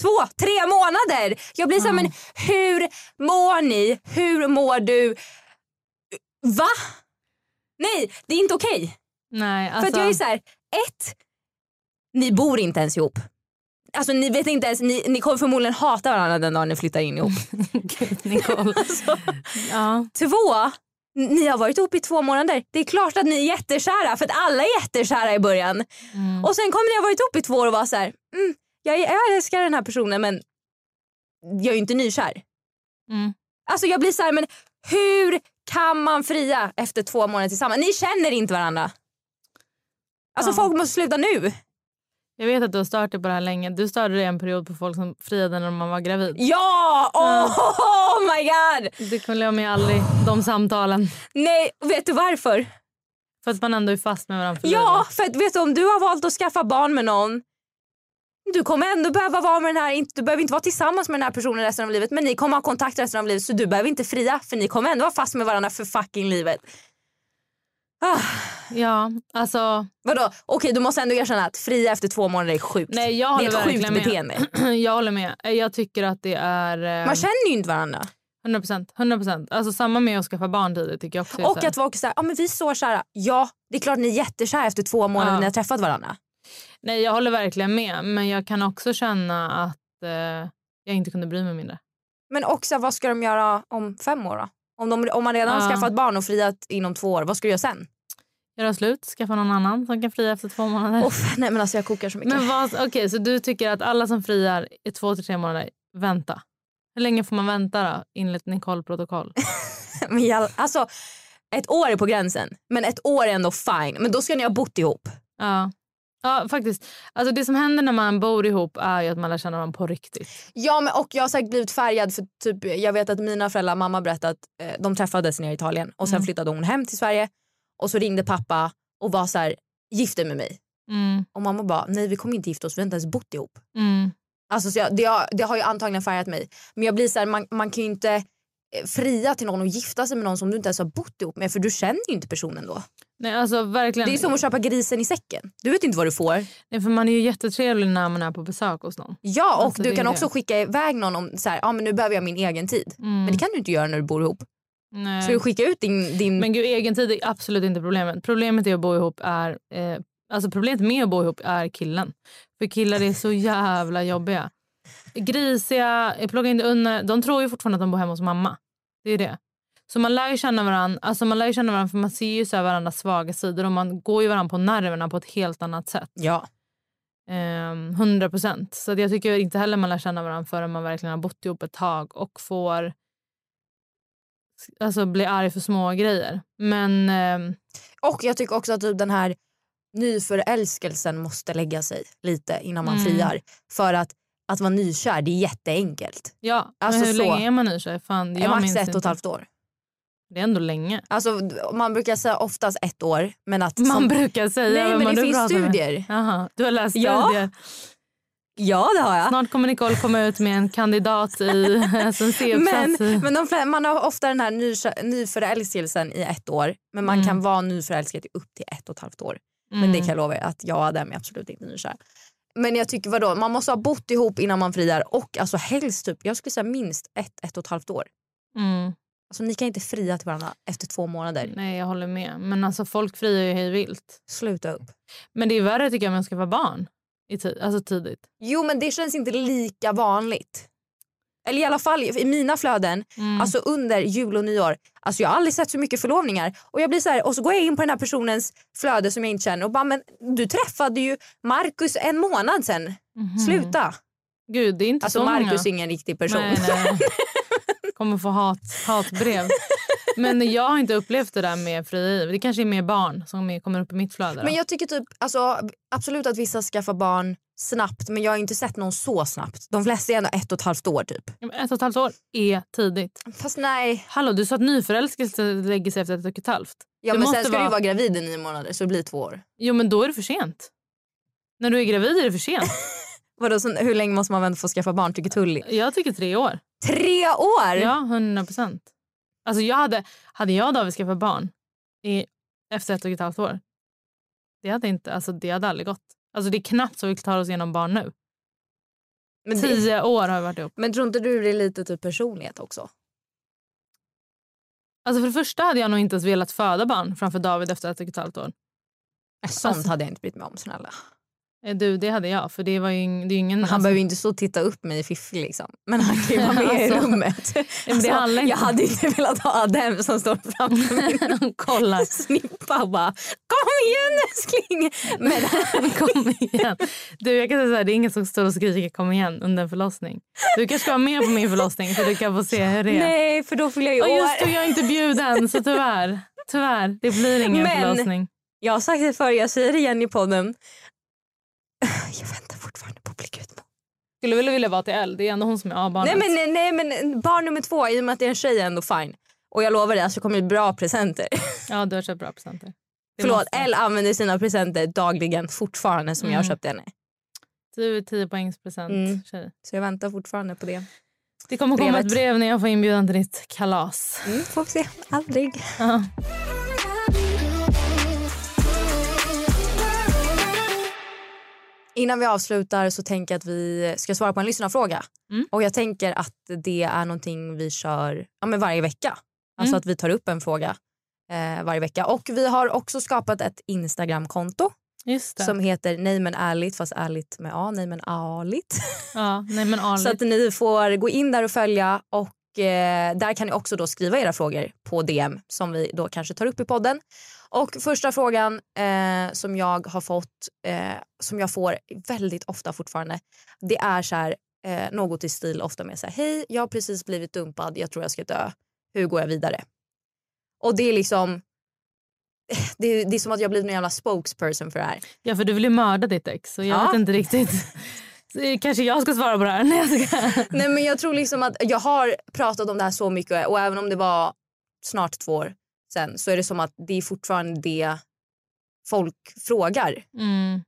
S3: två, tre månader. Jag blir så här,
S4: Mm.
S3: men hur mår ni? Hur mår du? Va? Nej, det är inte okej.
S4: Nej, alltså.
S3: För att jag är så här, ett, ni bor inte ens ihop. Alltså ni vet inte ens, ni, ni kommer förmodligen hata varandra den dagen ni flyttar in ihop.
S4: Nicole. ja.
S3: Två, ni har varit ihop i två månader. Det är klart att ni är jättekära för att alla är jättekära i början.
S4: Mm.
S3: Och sen kommer ni ha varit ihop i två år och vara så här, mm, jag, jag älskar den här personen men jag är ju inte nykär.
S4: Mm.
S3: Alltså jag blir så här, men hur kan man fria efter två månader tillsammans? Ni känner inte varandra. Alltså
S4: Ja.
S3: folk måste sluta nu.
S4: Jag vet att du har stört dig på det här länge. Du störde dig en period på folk som friade när man var gravid.
S3: Ja! Oh, oh my god!
S4: Det kunde jag mig aldrig, de samtalen.
S3: Nej, vet du varför?
S4: För att man ändå är fast med varandra för
S3: Ja,
S4: livet.
S3: för att, vet du, om du har valt att skaffa barn med någon du kommer ändå behöva vara med den här, inte- du behöver inte vara tillsammans med den här personen resten av livet men ni kommer ha kontakt resten av livet så du behöver inte fria för ni kommer ändå vara fast med varandra för fucking livet. Ah,
S4: Ja, alltså.
S3: vadå? Okej du måste ändå erkänna att fria efter två månader är sjukt.
S4: Nej, jag
S3: det är
S4: håller
S3: ett sjukt
S4: verkligen med.
S3: beteende.
S4: Jag håller med. Jag tycker att det är... eh,
S3: Man känner ju inte varandra.
S4: 100%. 100%. Alltså samma med att skaffa barn tidigt tycker jag också är så
S3: Och
S4: här-
S3: att folk säger ah, men vi är så kära. Ja det är klart ni är jättekära efter två månader
S4: Ja.
S3: ni har träffat varandra.
S4: Nej, jag håller verkligen med. Men jag kan också känna att eh, jag inte kunde bry mig mindre.
S3: Men också vad ska de göra om fem år då? Om, de, om man redan har
S4: Ja.
S3: skaffat barn och friat inom två år, vad ska du göra sen?
S4: Göra slut, skaffa någon annan som kan fria efter två månader.
S3: Uff, nej men alltså jag kokar så mycket.
S4: men vad, okej, så du tycker att alla som friar i två till tre månader, vänta. Hur länge får man vänta då, enligt Nicole protokoll?
S3: Men jag, alltså, ett år är på gränsen, men ett år är ändå fine. Men då ska ni ha bott ihop.
S4: Ja. ja, faktiskt. Alltså det som händer när man bor ihop är ju att man lär känna varandra på riktigt.
S3: Ja, men, och jag har säkert blivit färgad för typ, jag vet att mina föräldrar, mamma berättade att eh, de träffades nere i Italien och sen
S4: Mm.
S3: flyttade hon hem till Sverige och så ringde pappa och var så här, gift dig med mig.
S4: Mm,
S3: Och mamma bara, nej vi kommer inte gifta oss, vi har inte ens bott ihop.
S4: mm,
S3: Alltså, så jag, det, har, det har ju antagligen färgat mig. Men jag blir så här, man, man kan ju inte eh, fria till någon och gifta sig med någon som du inte ens har bott ihop med för du känner ju inte personen då.
S4: Nej, alltså verkligen.
S3: Det är som att köpa grisen i säcken. Du vet inte vad du får.
S4: Nej, för man är ju jättetrevlig när man är på besök hos någon.
S3: Ja, och
S4: Alltså,
S3: du
S4: det är
S3: kan
S4: det.
S3: också skicka iväg någon om så här, ah, men nu behöver jag min egen tid.
S4: Mm.
S3: Men det kan du inte göra när du bor ihop.
S4: Nej.
S3: Ska du skicka ut din... din...
S4: Men gud, egen tid är absolut inte problemet. Problemet är att bo ihop är... Eh, alltså problemet med att bo ihop är killen. För killar är så jävla jobbiga. Grisiga, eh, plocka inte undan. De tror ju fortfarande att de bor hemma hos mamma. Det är det. Så man lär ju känna varandra, alltså man lär ju känna varandra för man ser ju så här varandras svaga sidor och man går ju varandra på nerverna på ett helt annat sätt.
S3: Ja.
S4: Ehm, 100 procent. Så att jag tycker inte heller man lär känna varandra förrän man verkligen har bott ihop ett tag och får alltså, bli arg för små grejer. Men ehm,
S3: Och jag tycker också att typ den här nyförälskelsen måste lägga sig lite innan man
S4: Mm.
S3: friar. För att, att vara nykär, det är jätteenkelt.
S4: ja,
S3: Alltså
S4: men hur
S3: så.
S4: länge är man nykär? Fan, jag
S3: Max
S4: minns
S3: ett och ett
S4: inte.
S3: halvt år.
S4: Det är ändå länge.
S3: Alltså, man brukar säga oftast ett år. Men att,
S4: Man
S3: som-
S4: brukar säga
S3: Nej
S4: vem man
S3: men det
S4: nu
S3: finns
S4: pratar med.
S3: studier.
S4: Jaha, du har läst
S3: Ja.
S4: studier.
S3: Ja det har jag.
S4: Snart kommer Nicole komma ut med en kandidat i SNC-uppsats.
S3: Men, men de, flä- man har ofta den här nykär- nyförälskelsen i ett år men man
S4: Mm.
S3: kan vara nyförälskad i upp till ett och ett halvt år. Men det kan jag lova er att jag därmed absolut inte nykär. Men jag tycker vadå, man måste ha bott ihop innan man friar och alltså helst typ, jag skulle säga minst ett, ett och ett halvt år.
S4: mm.
S3: Alltså ni kan inte fria till varandra efter två månader.
S4: Nej, jag håller med. Men alltså folk friar ju hej vilt.
S3: Sluta upp.
S4: Men det är värre tycker jag om man ska vara barn. I ti- alltså tidigt.
S3: Jo men det känns inte lika vanligt. Eller i alla fall i mina flöden,
S4: Mm.
S3: alltså under jul och nyår. Alltså jag har aldrig sett så mycket förlovningar. Och, jag blir så här, och så går jag in på den här personens flöde som jag inte känner och bara men du träffade ju Marcus en månad sen.
S4: Mhm.
S3: Sluta!
S4: Gud, det är inte
S3: Alltså
S4: så många.
S3: Marcus är ingen riktig person.
S4: Nej, nej. Kommer få hat, hatbrev. Men jag har inte upplevt det där med frieri. Det kanske är mer barn som är- kommer upp i mitt flöde. då.
S3: Men jag tycker typ, alltså, absolut att vissa skaffar barn snabbt men jag har inte sett någon så snabbt. De flesta är ändå ett och ett halvt år typ.
S4: Ett och ett halvt år är tidigt.
S3: Fast nej.
S4: Hallå, du sa att nyförälskelse lägger sig efter ett och ett halvt.
S3: Ja,
S4: Det
S3: men
S4: måste
S3: sen ska du ju
S4: vara-
S3: vara gravid i nio månader så det blir två år.
S4: Jo, men då är det för sent. När du är gravid är det för sent.
S3: Vadå, så, hur länge måste man vänta för att skaffa barn tycker Tully?
S4: Jag tycker tre år.
S3: Tre år!
S4: Ja, hundra procent. Alltså jag hade, hade jag och David skaffat barn i, efter ett och ett halvt år, det hade, inte, alltså det hade aldrig gått. Alltså det är knappt så vi tar oss igenom barn nu.
S3: men, det,
S4: Tio år har vi varit ihop.
S3: men tror inte du det är lite typ personlighet också?
S4: Alltså för det första hade jag nog inte ens velat föda barn framför David efter ett och ett halvt år.
S3: Sånt
S4: Alltså-
S3: hade jag inte brytt mig om snälla.
S4: Eh, Du, det hade jag. För det, var ju, ing- det är ju ingen...
S3: Men han behöver ju inte stå och titta upp mig fiffig liksom. Men han kan ju vara med i
S4: Alltså,
S3: rummet.
S4: men det handlar inte
S3: jag
S4: om-
S3: hade inte velat ha Adem som står framför min
S4: inte kolla.
S3: snippa och bara kom igen älskling. Men
S4: Kom igen. Du, jag kan säga så här, det är ingen som står och skriker kom igen under en förlossning. Du kanske ska vara med på min förlossning så du kan få se hur det är.
S3: nej för då fyller jag ju
S4: Och just
S3: år.
S4: det, jag är inte bjuden så tyvärr. Tyvärr, det blir ingen
S3: Men-
S4: förlossning.
S3: Jag har sagt det förr, jag säger det igen i podden. Jag väntar fortfarande på att bli gud.
S4: Skulle väl vilja vara till L, det är ändå hon som är A-barnet.
S3: Nej men, nej, nej men barn nummer två, i och med att det är en tjej är ändå fine. Och jag lovar dig, alltså, det kommer bli bra presenter.
S4: Ja, du har köpt bra presenter. Det
S3: Förlåt,
S4: måste-
S3: Elle använder sina presenter dagligen fortfarande som jag har
S4: Mm.
S3: köpt henne.
S4: Du är 10 poängs present
S3: Mm.
S4: tjej.
S3: Så jag väntar fortfarande på det.
S4: Det kommer komma
S3: Brevet.
S4: ett brev när jag får inbjudan till ditt kalas.
S3: Mm, får vi se. Aldrig.
S4: Ja.
S3: Innan vi avslutar så tänker jag att vi ska svara på en lyssnarfråga.
S4: Mm.
S3: Och jag tänker att det är någonting vi kör ja, men varje vecka. Alltså
S4: Mm.
S3: att vi tar upp en fråga eh, varje vecka. Och vi har också skapat ett Instagramkonto
S4: Just det.
S3: som heter Nej men ärligt fast ärligt med A, nej men ärligt.
S4: Ja, nej men
S3: Så att
S4: Arlit.
S3: ni får gå in där och följa och eh, där kan ni också då skriva era frågor på DM som vi då kanske tar upp i podden. Och första frågan eh, som jag har fått, eh, som jag får väldigt ofta fortfarande, det är så här eh, något i stil ofta med så här, hej jag har precis blivit dumpad, jag tror jag ska dö, hur går jag vidare? Och det är liksom, det är, det är som att jag blivit någon jävla spokesperson för det här.
S4: Ja, för du vill ju mörda ditt ex så jag
S3: Ja.
S4: vet inte riktigt. Så, eh, Kanske jag ska svara på det här. Nej, jag ska...
S3: Nej men jag tror liksom att jag har pratat om det här så mycket och även om det var snart två år sen så är det som att det är fortfarande det folk frågar.
S4: mm.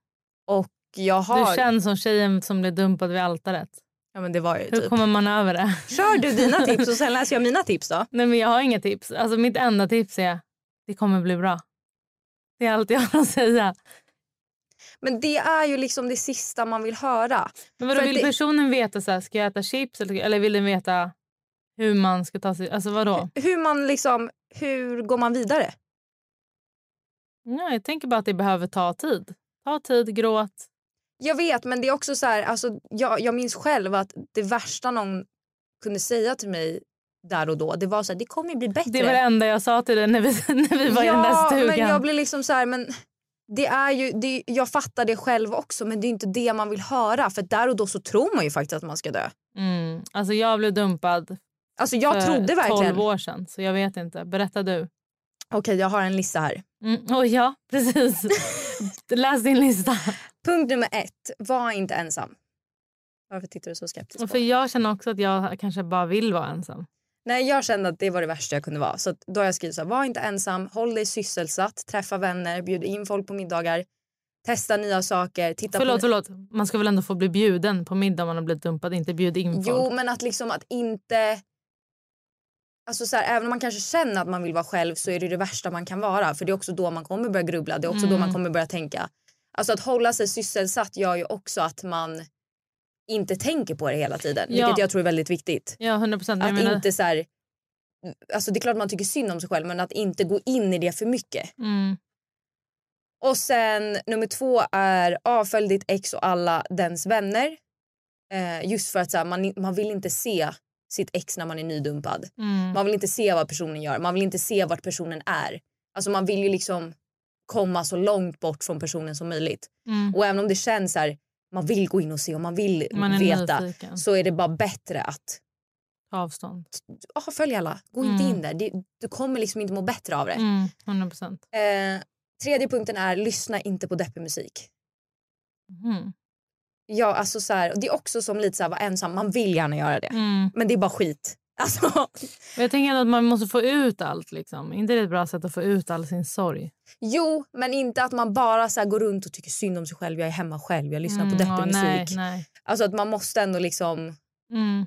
S3: Och jag har...
S4: Du känns som tjejen som blev dumpad vid altaret.
S3: Ja men det var ju
S4: Hur
S3: typ.
S4: kommer man över det?
S3: Kör du dina tips och sen läser jag mina tips då.
S4: Nej, men jag har inga tips. Alltså, mitt enda tips är det kommer bli bra. Det är allt jag har att säga.
S3: Men det är ju liksom det sista man vill höra.
S4: Men vadå,
S3: För att
S4: vill
S3: det-
S4: personen veta så här, ska jag äta chips eller, eller vill den veta hur man ska ta sig... Alltså vadå?
S3: Hur man liksom, hur går man vidare?
S4: Nej, jag tänker bara att det behöver ta tid. Ta tid, gråt.
S3: Jag vet men det är också så här, alltså, jag, jag minns själv att det värsta någon kunde säga till mig där och då det var så här, det kommer ju bli bättre.
S4: Det var det enda jag sa till dig när vi, när vi var i den där stugan.
S3: men jag blir liksom så här, men det är ju, det, jag fattar det själv också men det är inte det man vill höra för där och då så tror man ju faktiskt att man ska dö.
S4: mm. Alltså jag blev dumpad
S3: Alltså jag
S4: för
S3: trodde verkligen.
S4: 12 år sedan så jag vet inte. Berätta du.
S3: Okej jag har en lista här.
S4: Mm. Oh, ja, precis. Läs din lista.
S3: Punkt nummer ett, var inte ensam. Varför tittar du så skeptiskt
S4: Och
S3: på
S4: för
S3: mig?
S4: jag känner också att jag kanske bara vill vara ensam.
S3: Nej jag kände att det var det värsta jag kunde vara så att då har jag skrivit så här, var inte ensam, håll dig sysselsatt, träffa vänner, bjud in folk på middagar, testa nya saker, titta
S4: Förlåt,
S3: på...
S4: förlåt. Man ska väl ändå få bli bjuden på middag om man har blivit dumpad, inte bjud in folk.
S3: Jo, men att liksom att inte... Alltså så här, även om man kanske känner att man vill vara själv så är det det värsta man kan vara. För det är också då man kommer börja grubbla. Det är också då
S4: Mm.
S3: man kommer börja tänka. Alltså att hålla sig sysselsatt gör ju också att man inte tänker på det hela tiden.
S4: Ja. Mm,
S3: Vilket jag tror är väldigt viktigt.
S4: Ja, 100 procent.
S3: Att inte så här... Alltså det är klart man tycker synd om sig själv men att inte gå in i det för mycket.
S4: Mm.
S3: Och sen nummer två är avfölj ditt ex och alla dens vänner. Eh, just för att så här, man, man vill inte se sitt ex när man är nydumpad.
S4: Mm.
S3: Man vill inte se vad personen gör, man vill inte se vart personen är. Alltså man vill ju liksom komma så långt bort från personen som möjligt.
S4: Mm.
S3: Och även om det känns så här, man vill gå in och se och man vill
S4: Man är
S3: veta
S4: nyfiken.
S3: så är det bara bättre att
S4: Ta avstånd.
S3: ah, följ alla, gå inte
S4: Mm.
S3: in där. Det, du kommer liksom inte må bättre av det.
S4: Mm. 100 procent.
S3: Eh, tredje punkten är lyssna inte på deppig musik.
S4: Mm.
S3: Ja, alltså så här, och det är också som lite så här, vara ensam. Man vill gärna göra det,
S4: Mm.
S3: men det är bara skit. Alltså,
S4: Men Jag tänker ändå att man måste få ut allt. Liksom. Inte det ett bra sätt att få ut all sin sorg?
S3: jo, men inte att man bara så här, går runt och tycker synd om sig själv. Jag är hemma själv, jag lyssnar på
S4: Mm,
S3: deppig
S4: ja,
S3: musik.
S4: Nej, nej.
S3: Alltså att man måste ändå liksom
S4: Mm,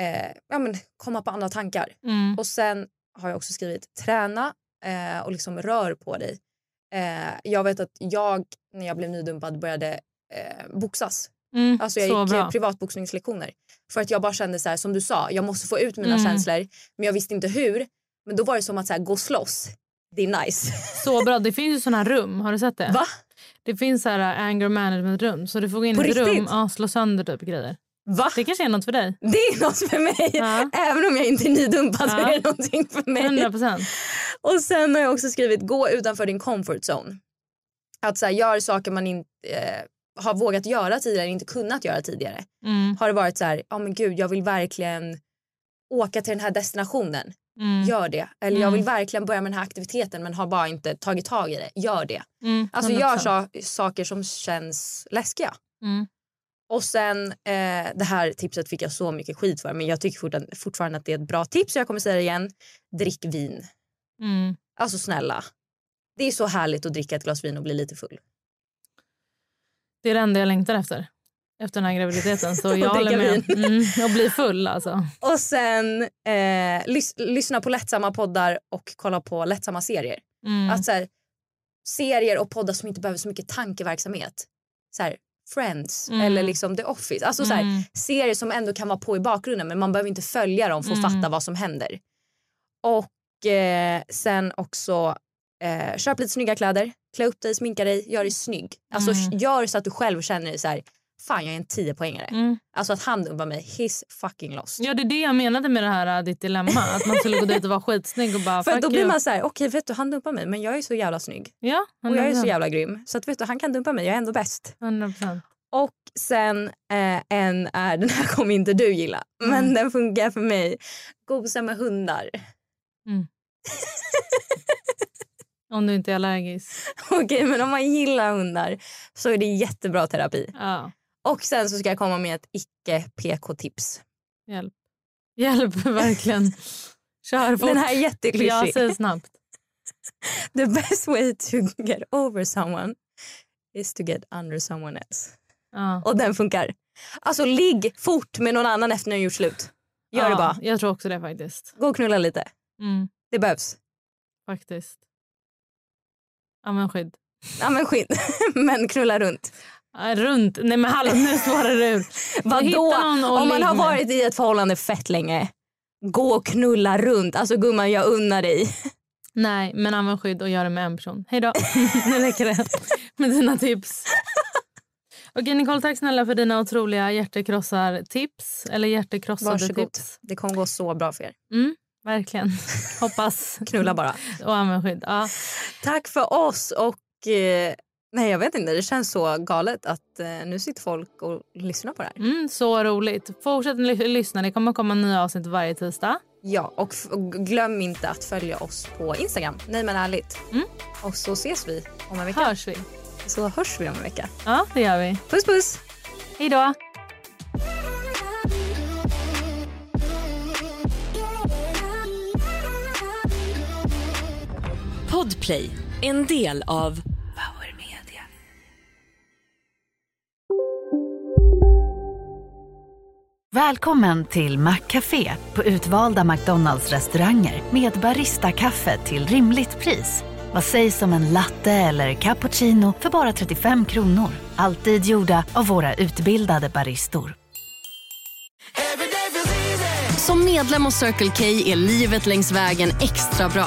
S3: eh, ja, men, komma på andra tankar.
S4: mm,
S3: Och sen har jag också skrivit träna eh, och liksom rör på dig. Eh, jag vet att jag när jag blev nydumpad började eh, boxas.
S4: mm.
S3: Alltså jag
S4: så
S3: gick
S4: bra.
S3: eh, privatboxningslektioner. För att jag bara kände så här, som du sa, jag måste få ut mina
S4: Mm.
S3: känslor. Men jag visste inte hur. Men då var det som att så här, gå och slåss. Det är nice.
S4: så bra. Det finns ju såna här rum. Har du sett det?
S3: Va?
S4: Det finns så här äh, anger management rum. Så du får gå in
S3: På
S4: i ett rum
S3: riktigt?
S4: och slå sönder typ grejer.
S3: Va?
S4: Det kanske är något för dig.
S3: Det är något för mig.
S4: Ja.
S3: Även om jag inte är nydumpad så
S4: Ja.
S3: är det någonting för mig.
S4: 100 procent.
S3: Och sen har jag också skrivit gå utanför din comfort zone. Att så här, gör saker man inte eh, har vågat göra tidigare, inte kunnat göra tidigare.
S4: Mm,
S3: Har det varit så här, ja men gud jag vill verkligen åka till den här destinationen,
S4: mm,
S3: gör det. Eller jag
S4: Mm.
S3: vill verkligen börja med den här aktiviteten men har bara inte tagit tag i det, gör det.
S4: mm,
S3: Alltså gör
S4: 100%.
S3: sa- saker som känns läskiga.
S4: Mm.
S3: Och sen, eh, det här tipset fick jag så mycket skit för men jag tycker fortan- fortfarande att det är ett bra tips och jag kommer säga det igen. Drick vin.
S4: Mm.
S3: Alltså snälla. Det är så härligt att dricka ett glas vin och bli lite full.
S4: Det är det enda jag längtar efter. Efter den här graviditeten. Så
S3: Och
S4: jag håller
S3: dricka
S4: med. Mm, och bli full alltså.
S3: Och sen eh, lys- lyssna på lättsamma poddar och kolla på lättsamma serier.
S4: Mm.
S3: Att så här, serier och poddar som inte behöver så mycket tankeverksamhet. Så här, Friends
S4: Mm.
S3: eller liksom The Office. Alltså så här,
S4: Mm.
S3: serier som ändå kan vara på i bakgrunden men man behöver inte följa dem för att
S4: Mm.
S3: fatta vad som händer. Och eh, sen också eh, köp lite snygga kläder, klä upp dig, sminka dig, gör dig snygg. Alltså
S4: Mm.
S3: gör så att du själv känner dig så här, fan jag är en 10-poängare.
S4: Mm.
S3: Alltså att han dumpar mig, his fucking lost.
S4: Ja, det är det jag menade med det här äh, ditt dilemma. Att man skulle gå dit och vara skitsnygg och bara...
S3: För
S4: fuck
S3: då blir
S4: you.
S3: man så här, okej vet du han dumpar mig men jag är så jävla snygg.
S4: Ja,
S3: Och jag är så
S4: 100%.
S3: jävla grym. Så att vet du han kan dumpa mig, jag är ändå bäst.
S4: 100%.
S3: Och sen eh, en är, den här kommer inte du gilla, men
S4: Mm.
S3: den funkar för mig. Gosa med hundar.
S4: Om du inte är allergisk.
S3: Okej, men om man gillar hundar så är det jättebra terapi.
S4: Ja,
S3: Och sen så ska jag komma med ett icke PK-tips.
S4: hjälp. Hjälp, verkligen. Kör fort.
S3: Den här är
S4: jag
S3: jätteklyschig.
S4: säger snabbt.
S3: The best way to get over someone is to get under someone else.
S4: Ja.
S3: Och den funkar. Alltså ligg fort med någon annan efter när du gjort slut. Gör
S4: ja,
S3: det bara.
S4: Jag tror också det faktiskt.
S3: Gå och knulla lite.
S4: Mm,
S3: Det behövs.
S4: faktiskt. Ja, men skydd.
S3: Ja men skit. men knulla runt.
S4: Ja, Runt. Nej, men hallå, nu svarar du ur.
S3: Vadå?
S4: Hitta någon och
S3: Om man
S4: ligg
S3: har
S4: med.
S3: varit i ett förhållande fett länge. Gå och knulla runt. Alltså gumman jag unnar dig.
S4: Nej, men använd skydd och gör det med en person. Hej då. nu räcker det med dina tips. Okej, Nicole, tack snälla för dina otroliga hjärtekrossar-tips. Eller hjärtekrossade
S3: Varsågod.
S4: tips.
S3: typ- Det kommer gå så bra för er.
S4: Verkligen. Hoppas.
S3: Knulla bara.
S4: Och använd skydd. Ja.
S3: Tack för oss och eh, nej jag vet inte, det känns så galet att eh, nu sitter folk och lyssnar på det här.
S4: Mm, så roligt. Fortsätt ly- lyssna. Det kommer komma nya avsnitt varje tisdag.
S3: Ja, och f- och glöm inte att följa oss på Instagram, nej men ärligt.
S4: Mm.
S3: Och så ses vi om en vecka.
S4: Hörs vi?
S3: Så hörs vi om en vecka.
S4: Ja, det gör vi.
S3: Puss puss!
S4: Hej då.
S7: Podplay, en del av Power Media.
S8: Välkommen till Maccafé på utvalda McDonalds restauranger med Baristakaffe till rimligt pris. Vad sägs om en latte eller cappuccino för bara 35 kronor? Alltid gjorda av våra utbildade baristor.
S7: Som medlem hos Circle K är livet längs vägen extra bra.